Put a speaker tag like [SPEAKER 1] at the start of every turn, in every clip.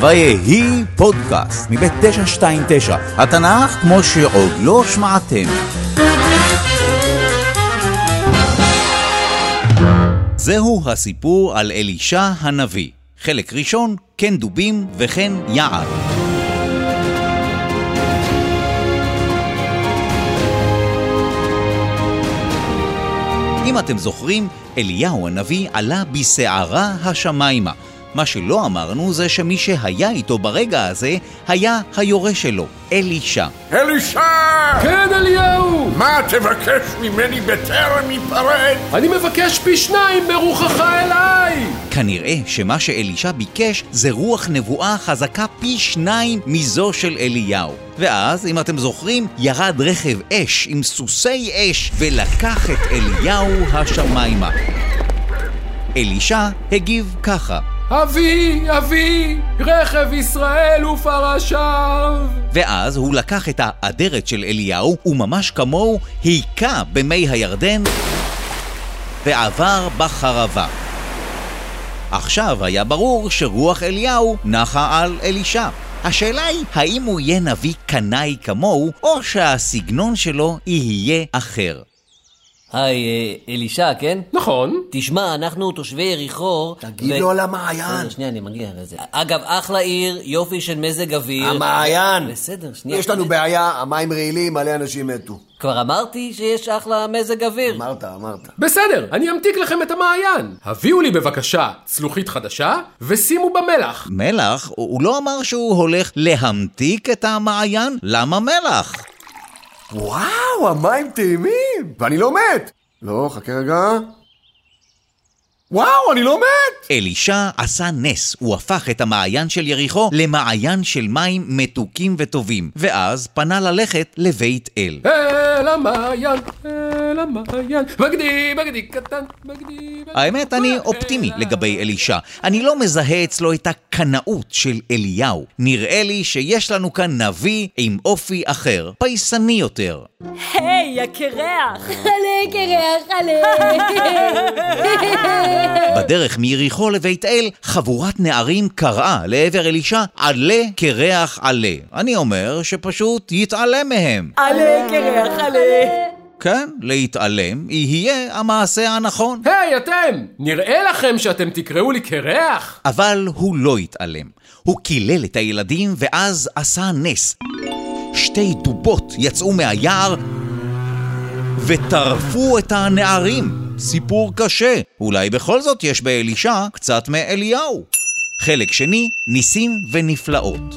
[SPEAKER 1] ויהי פודקאסט מבית 929, התנ"ך כמו שעוד לא שמעתם. זהו הסיפור על אלישע הנביא. חלק ראשון, כן דובים וכן יער. אם אתם זוכרים, אליהו הנביא עלה בסערה השמיימה. מה שלא אמרנו זה שמי שהיה איתו ברגע הזה היה היורש שלו, אלישע.
[SPEAKER 2] אלישע!
[SPEAKER 3] כן, אליהו!
[SPEAKER 2] מה תבקש ממני בטרם ייפרד?
[SPEAKER 3] אני מבקש פי שניים ברוחך אליי!
[SPEAKER 1] כנראה שמה שאלישע ביקש זה רוח נבואה חזקה פי שניים מזו של אליהו. ואז, אם אתם זוכרים, ירד רכב אש עם סוסי אש ולקח את אליהו השמיימה. אלישע הגיב ככה,
[SPEAKER 3] אבי, אבי, רכב ישראל ופרשיו!
[SPEAKER 1] ואז הוא לקח את האדרת של אליהו, וממש כמוהו היכה במי הירדן ועבר בחרבה. עכשיו היה ברור שרוח אליהו נחה על אלישע. השאלה היא, האם הוא יהיה נביא קנאי כמוהו, או שהסגנון שלו יהיה אחר.
[SPEAKER 4] היי, אה, אלישע, כן?
[SPEAKER 3] נכון.
[SPEAKER 4] תשמע, אנחנו תושבי יריחו...
[SPEAKER 5] תגיד לו על המעיין.
[SPEAKER 4] רגע, שנייה, אני מגיע לזה. אגב, אחלה עיר, יופי של מזג אוויר.
[SPEAKER 5] המעיין.
[SPEAKER 4] בסדר, שנייה.
[SPEAKER 5] יש לנו בעיה, המים רעילים, מלא אנשים מתו.
[SPEAKER 4] כבר אמרתי שיש אחלה מזג אוויר.
[SPEAKER 5] אמרת, אמרת.
[SPEAKER 3] בסדר, אני אמתיק לכם את המעיין. הביאו לי בבקשה צלוחית חדשה, ושימו בה מלח.
[SPEAKER 1] מלח, הוא הוא לא אמר שהוא הולך להמתיק את המעיין? למה מלח?
[SPEAKER 5] וואו, המים טעימים! ואני לא מת! לא, חכה רגע. וואו, אני לא מת!
[SPEAKER 1] אלישע עשה נס, הוא הפך את המעיין של יריחו למעיין של מים מתוקים וטובים, ואז פנה ללכת לבית אל.
[SPEAKER 3] אל המעיין, אל המעיין, בגדי, בגדי קטן, בגדי... בגדי.
[SPEAKER 1] האמת, אני אופטימי לגבי אלישע. אני לא מזהה אצלו את הקנאות של אליהו. נראה לי שיש לנו כאן נביא עם אופי אחר, פייסני יותר.
[SPEAKER 6] היי, הקרח!
[SPEAKER 7] חלה קרח, חלה.
[SPEAKER 1] בדרך מיריחו לבית אל, חבורת נערים קראה לעבר אלישע, עלה קרח עלה. אני אומר שפשוט יתעלם מהם.
[SPEAKER 6] עלה קרח, עלה!
[SPEAKER 1] כן, להתעלם יהיה המעשה הנכון.
[SPEAKER 3] היי, אתם! נראה לכם שאתם תקראו לי קרח?
[SPEAKER 1] אבל הוא לא התעלם. הוא קילל את הילדים ואז עשה נס. שתי דובות יצאו מהיער וטרפו את הנערים. סיפור קשה. אולי בכל זאת יש באלישע קצת מאליהו. חלק שני, ניסים ונפלאות.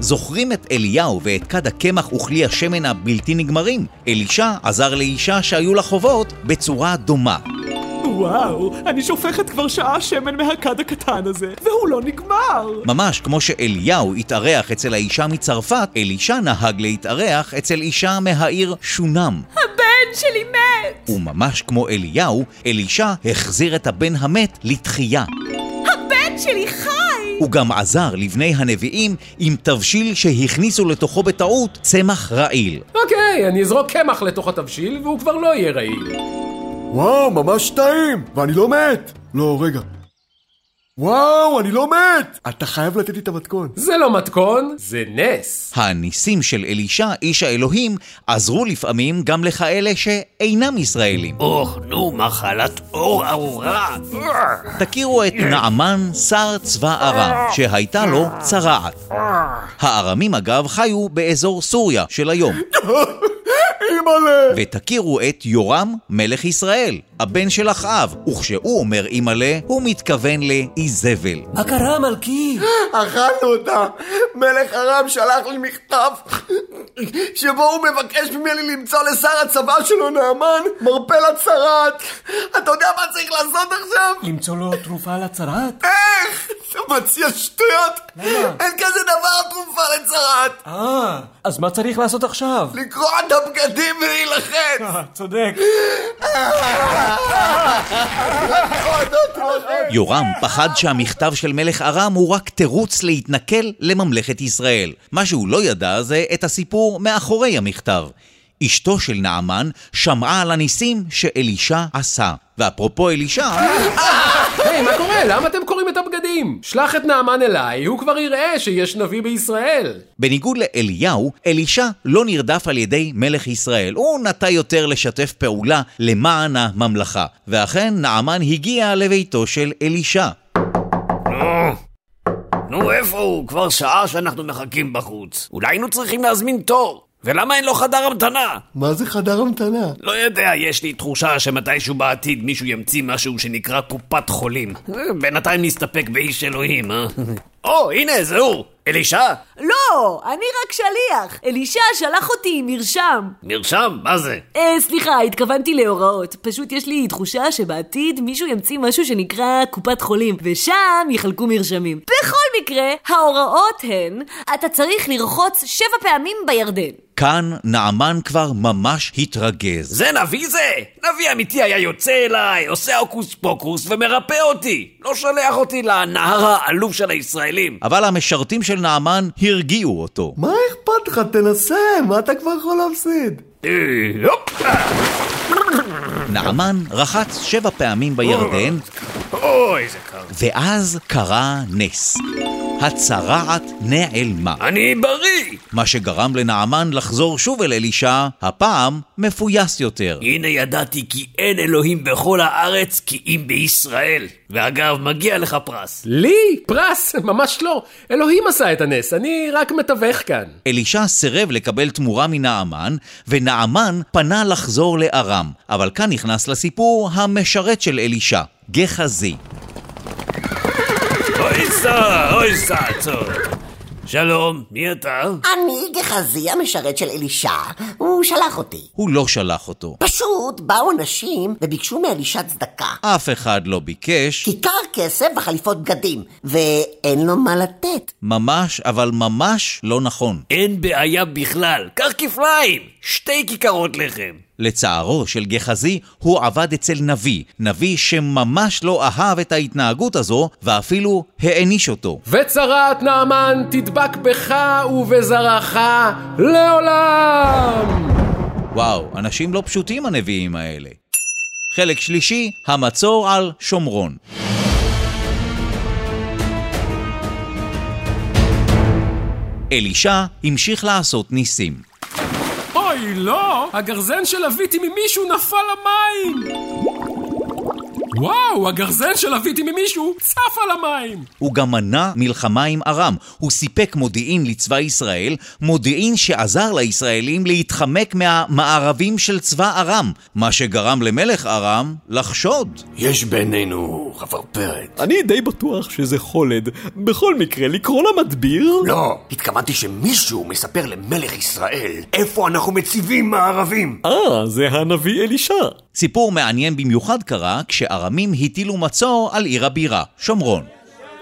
[SPEAKER 1] זוכרים את אליהו ואת כד הקמח וכלי השמן הבלתי נגמרים? אלישע עזר לאישה שהיו לה חובות בצורה דומה.
[SPEAKER 8] וואו, אני שופכת כבר שעה שמן מהכד הקטן הזה, והוא לא נגמר!
[SPEAKER 1] ממש כמו שאליהו התארח אצל האישה מצרפת, אלישע נהג להתארח אצל אישה מהעיר שונם.
[SPEAKER 6] הבן שלי מת!
[SPEAKER 1] וממש כמו אליהו, אלישע החזיר את הבן המת לתחייה.
[SPEAKER 6] הבן שלי חי!
[SPEAKER 1] הוא גם עזר לבני הנביאים עם תבשיל שהכניסו לתוכו בטעות צמח רעיל.
[SPEAKER 3] אוקיי, אני אזרוק קמח לתוך התבשיל, והוא כבר לא יהיה רעיל.
[SPEAKER 5] וואו, ממש טעים! ואני לא מת! לא, רגע. וואו, אני לא מת! אתה חייב לתת לי את המתכון.
[SPEAKER 3] זה לא מתכון, זה נס.
[SPEAKER 1] הניסים של אלישע, איש האלוהים, עזרו לפעמים גם לכאלה שאינם ישראלים.
[SPEAKER 9] אוח, נו, מחלת אור ארורה.
[SPEAKER 1] תכירו את נעמן, שר צבא ערם, שהייתה לו צרעת. הארמים אגב חיו באזור סוריה של היום.
[SPEAKER 5] אימא'לה!
[SPEAKER 1] ותכירו את יורם, מלך ישראל, הבן של אחאב, וכשהוא אומר אימא'לה, הוא מתכוון לאיזבל.
[SPEAKER 4] מה קרה, מלכי?
[SPEAKER 5] אכלנו אותה! מלך ארם שלח לי מכתב שבו הוא מבקש ממני למצוא לשר הצבא שלו נאמן מרפא לצרעת! אתה יודע מה צריך לעשות עכשיו?
[SPEAKER 4] למצוא לו תרופה לצרעת?
[SPEAKER 5] איך? אתה מציע שטויות? אין כזה דבר תרופה לצרעת!
[SPEAKER 4] אה, אז מה צריך לעשות עכשיו? אה,
[SPEAKER 5] לקרוע את הבגדים ולהילחץ! אה,
[SPEAKER 8] צודק.
[SPEAKER 1] יורם פחד שהמכתב של מלך ארם הוא רק תירוץ להתנכל לממלכת ישראל. מה שהוא לא ידע זה את הסיפור מאחורי המכתב. אשתו של נעמן שמעה על הניסים שאלישע עשה. ואפרופו אלישע...
[SPEAKER 3] היי, מה קורה? למה אתם קוראים את הבגדים? שלח את נעמן אליי, הוא כבר יראה שיש נביא בישראל.
[SPEAKER 1] בניגוד לאליהו, אלישע לא נרדף על ידי מלך ישראל, הוא נטה יותר לשתף פעולה למען הממלכה. ואכן, נעמן הגיע לביתו של אלישע.
[SPEAKER 9] נו, איפה הוא? כבר שעה שאנחנו מחכים בחוץ. אולי היינו צריכים להזמין תור. ולמה אין לו חדר המתנה?
[SPEAKER 5] מה זה חדר המתנה?
[SPEAKER 9] לא יודע, יש לי תחושה שמתישהו בעתיד מישהו ימציא משהו שנקרא קופת חולים. בינתיים נסתפק באיש אלוהים, אה? או, הנה, זה הוא! אלישע?
[SPEAKER 6] לא, אני רק שליח. אלישע שלח אותי עם מרשם.
[SPEAKER 9] מרשם? מה זה?
[SPEAKER 6] אה, סליחה, התכוונתי להוראות. פשוט יש לי תחושה שבעתיד מישהו ימציא משהו שנקרא קופת חולים, ושם יחלקו מרשמים. בכל מקרה, ההוראות הן, אתה צריך לרחוץ שבע פעמים בירדן.
[SPEAKER 1] כאן נעמן כבר ממש התרגז.
[SPEAKER 9] זה נביא זה? נביא אמיתי היה יוצא אליי, עושה הוקוס פוקוס ומרפא אותי. לא שולח אותי לנהר העלוב של הישראלים.
[SPEAKER 1] אבל המשרתים של נעמן הרגיעו אותו.
[SPEAKER 5] מה אכפת לך? תנסה, מה אתה כבר יכול להפסיד?
[SPEAKER 9] אה, הופ!
[SPEAKER 1] נעמן רחץ שבע פעמים בירדן,
[SPEAKER 9] אוי, זה קר.
[SPEAKER 1] ואז קרה נס. הצרעת נעלמה,
[SPEAKER 9] אני בריא!
[SPEAKER 1] מה שגרם לנעמן לחזור שוב אל אלישע, הפעם מפויס יותר.
[SPEAKER 9] הנה ידעתי כי אין אלוהים בכל הארץ כי אם בישראל. ואגב, מגיע לך פרס.
[SPEAKER 3] לי? פרס? ממש לא. אלוהים עשה את הנס, אני רק מתווך כאן.
[SPEAKER 1] אלישע סירב לקבל תמורה מנעמן, ונעמן פנה לחזור לארם. אבל כאן נכנס לסיפור המשרת של אלישע, גחזי.
[SPEAKER 9] אוי סע, אוי סע, צור. שלום, מי אתה?
[SPEAKER 10] אני גחזי המשרת של אלישע, הוא שלח אותי.
[SPEAKER 1] הוא לא שלח אותו.
[SPEAKER 10] פשוט באו אנשים וביקשו מאלישע צדקה.
[SPEAKER 1] אף אחד לא ביקש,
[SPEAKER 10] כיכר כסף וחליפות בגדים, ואין לו מה לתת.
[SPEAKER 1] ממש, אבל ממש לא נכון.
[SPEAKER 9] אין בעיה בכלל, קח כפליים! שתי כיכרות לחם.
[SPEAKER 1] לצערו של גחזי, הוא עבד אצל נביא, נביא שממש לא אהב את ההתנהגות הזו, ואפילו העניש אותו.
[SPEAKER 3] וצרעת נעמן תדבק בך ובזרעך לעולם!
[SPEAKER 1] וואו, אנשים לא פשוטים הנביאים האלה. חלק שלישי, המצור על שומרון. אלישע המשיך לעשות ניסים.
[SPEAKER 3] אוי, לא! הגרזן שלוויתי ממישהו נפל למים! וואו, הגרזן שלוויתי ממישהו צף על המים!
[SPEAKER 1] הוא גם מנע מלחמה עם ארם. הוא סיפק מודיעין לצבא ישראל, מודיעין שעזר לישראלים להתחמק מהמערבים של צבא ארם, מה שגרם למלך ארם לחשוד.
[SPEAKER 9] יש בינינו חפרפרת.
[SPEAKER 8] אני די בטוח שזה חולד. בכל מקרה, לקרוא לה מדביר?
[SPEAKER 9] לא, התכוונתי שמישהו מספר למלך ישראל איפה אנחנו מציבים מערבים.
[SPEAKER 8] אה, זה הנביא אלישע.
[SPEAKER 1] סיפור מעניין במיוחד קרה כשארמים הטילו מצור על עיר הבירה, שומרון.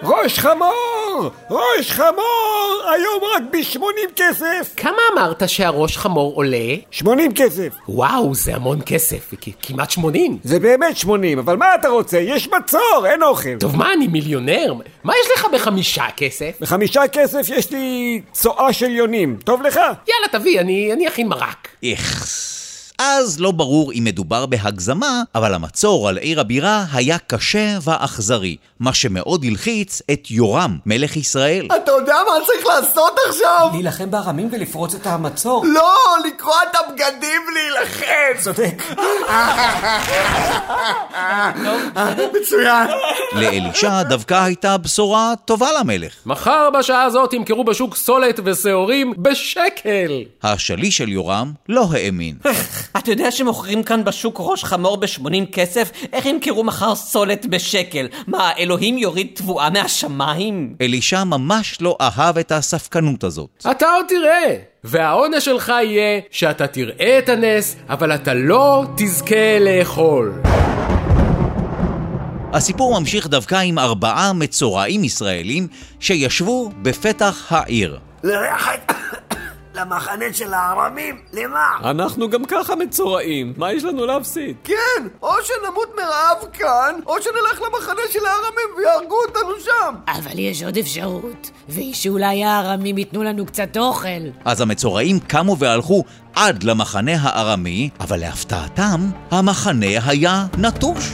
[SPEAKER 2] ראש חמור! ראש חמור! היום רק ב-80 כסף!
[SPEAKER 3] כמה אמרת שהראש חמור עולה?
[SPEAKER 2] 80 כסף!
[SPEAKER 3] וואו, זה המון כסף, כ- כמעט 80.
[SPEAKER 2] זה באמת 80, אבל מה אתה רוצה? יש מצור, אין אוכל!
[SPEAKER 3] טוב, מה, אני מיליונר? מה יש לך בחמישה כסף?
[SPEAKER 2] בחמישה כסף יש לי צואה של יונים, טוב לך?
[SPEAKER 3] יאללה, תביא, אני, אני אכין מרק.
[SPEAKER 1] איכס. אז לא ברור אם מדובר בהגזמה, אבל המצור על עיר הבירה היה קשה ואכזרי, מה שמאוד הלחיץ את יורם, מלך ישראל.
[SPEAKER 5] אתה יודע מה צריך לעשות עכשיו?
[SPEAKER 4] להילחם בארמים ולפרוץ את המצור.
[SPEAKER 5] לא, לקרוע את הבגדים ולהילחם! צודק. מצוין.
[SPEAKER 1] לאלישע דווקא הייתה בשורה טובה למלך.
[SPEAKER 3] מחר בשעה הזאת ימכרו בשוק סולת ושעורים בשקל!
[SPEAKER 1] השליש של יורם לא האמין.
[SPEAKER 4] אתה יודע שמוכרים כאן בשוק ראש חמור ב-80 כסף? איך ימכרו מחר סולת בשקל? מה, אלוהים יוריד תבואה מהשמיים?
[SPEAKER 1] אלישע ממש לא אהב את הספקנות הזאת.
[SPEAKER 3] אתה עוד תראה! והעונש שלך יהיה שאתה תראה את הנס, אבל אתה לא תזכה לאכול.
[SPEAKER 1] הסיפור ממשיך דווקא עם ארבעה מצורעים ישראלים שישבו בפתח העיר.
[SPEAKER 9] ללכת למחנה של הארמים? למה?
[SPEAKER 8] אנחנו גם ככה מצורעים, מה יש לנו להפסיד?
[SPEAKER 5] כן, או שנמות מרעב כאן, או שנלך למחנה של הארמים ויהרגו אותנו שם.
[SPEAKER 6] אבל יש עוד אפשרות, והיא שאולי הארמים ייתנו לנו קצת אוכל.
[SPEAKER 1] אז המצורעים קמו והלכו עד למחנה הארמי, אבל להפתעתם, המחנה היה נטוש.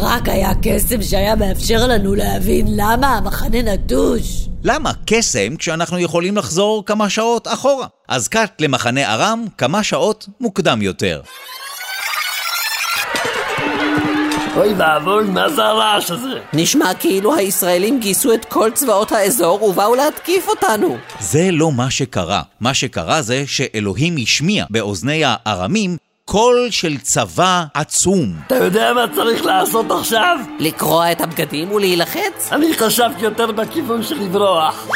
[SPEAKER 7] רק היה קסם שהיה מאפשר לנו להבין למה המחנה נטוש.
[SPEAKER 1] למה קסם כשאנחנו יכולים לחזור כמה שעות אחורה? אז קאט למחנה ארם כמה שעות מוקדם יותר.
[SPEAKER 5] אוי ואבוי, מה זה הרעש הזה?
[SPEAKER 4] נשמע כאילו הישראלים גייסו את כל צבאות האזור ובאו להתקיף אותנו.
[SPEAKER 1] זה לא מה שקרה. מה שקרה זה שאלוהים השמיע באוזני הארמים קול של צבא עצום.
[SPEAKER 5] אתה יודע מה צריך לעשות עכשיו?
[SPEAKER 4] לקרוע את הבגדים ולהילחץ?
[SPEAKER 5] אני חשבתי יותר בכיוון של לברוח.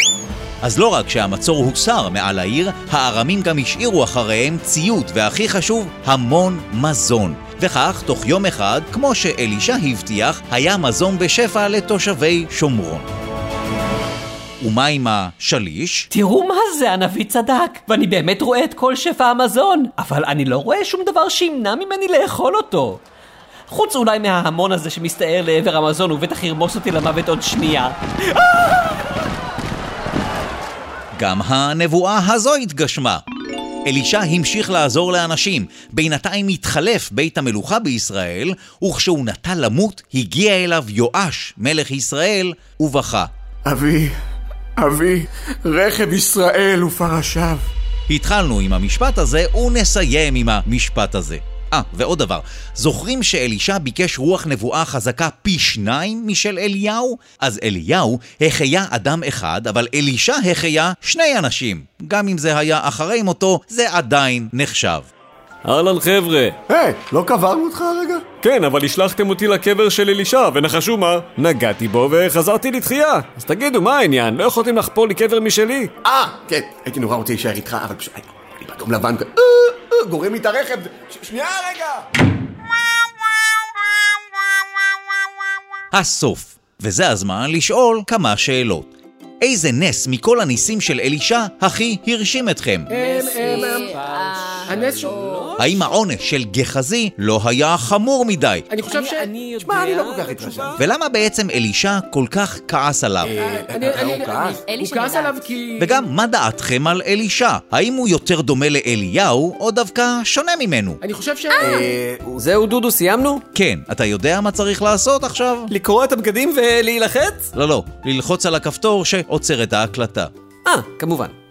[SPEAKER 1] אז לא רק שהמצור הוסר מעל העיר, הארמים גם השאירו אחריהם ציוד, והכי חשוב, המון מזון. וכך, תוך יום אחד, כמו שאלישע הבטיח, היה מזון בשפע לתושבי שומרון. ומה עם השליש?
[SPEAKER 4] תראו מה זה, הנביא צדק, ואני באמת רואה את כל שפע המזון, אבל אני לא רואה שום דבר שימנע ממני לאכול אותו. חוץ אולי מההמון הזה שמסתער לעבר המזון ובטח ירמוס אותי למוות עוד שנייה.
[SPEAKER 1] גם הנבואה הזו התגשמה. אלישע המשיך לעזור לאנשים, בינתיים התחלף בית המלוכה בישראל, וכשהוא נטה למות, הגיע אליו יואש, מלך ישראל, ובכה.
[SPEAKER 5] אבי, אבי, רכב ישראל ופרשיו.
[SPEAKER 1] התחלנו עם המשפט הזה, ונסיים עם המשפט הזה. אה, ועוד דבר, זוכרים שאלישע ביקש רוח נבואה חזקה פי שניים משל אליהו? אז אליהו החיה אדם אחד, אבל אלישע החיה שני אנשים. גם אם זה היה אחרי מותו, זה עדיין נחשב.
[SPEAKER 11] אהלן חבר'ה.
[SPEAKER 5] היי, לא קברנו אותך הרגע?
[SPEAKER 11] כן, אבל השלכתם אותי לקבר של אלישע, ונחשו מה? נגעתי בו וחזרתי לתחייה. אז תגידו, מה העניין? לא יכולתם לחפור לי קבר משלי?
[SPEAKER 5] אה, כן, הייתי נורא רוצה להישאר איתך, אבל פשוט... אה, אני באדום לבן כזה... אה, אה, גורם לי את הרכב! ש- שנייה רגע!
[SPEAKER 1] הסוף. וזה הזמן לשאול כמה שאלות. איזה נס מכל הניסים של אלישע הכי הרשים אתכם?
[SPEAKER 3] הנס שהוא...
[SPEAKER 1] האם העונש של גחזי לא היה חמור מדי?
[SPEAKER 3] אני חושב ש...
[SPEAKER 4] אני יודע...
[SPEAKER 5] מה, אני לא כל כך התרשמתי.
[SPEAKER 1] ולמה בעצם אלישע כל כך כעס עליו?
[SPEAKER 3] אני- אני- אני- הוא כעס עליו כי...
[SPEAKER 1] וגם, מה דעתכם על אלישע? האם הוא יותר דומה לאליהו, או דווקא שונה ממנו?
[SPEAKER 3] אני חושב ש...
[SPEAKER 9] זהו דודו, סיימנו?
[SPEAKER 1] כן, אתה יודע מה צריך לעשות עכשיו?
[SPEAKER 9] לקרוע את הבגדים ולהילחץ?
[SPEAKER 1] לא, לא, ללחוץ על הכפתור שעוצר את ההקלטה.
[SPEAKER 9] אה, כמובן.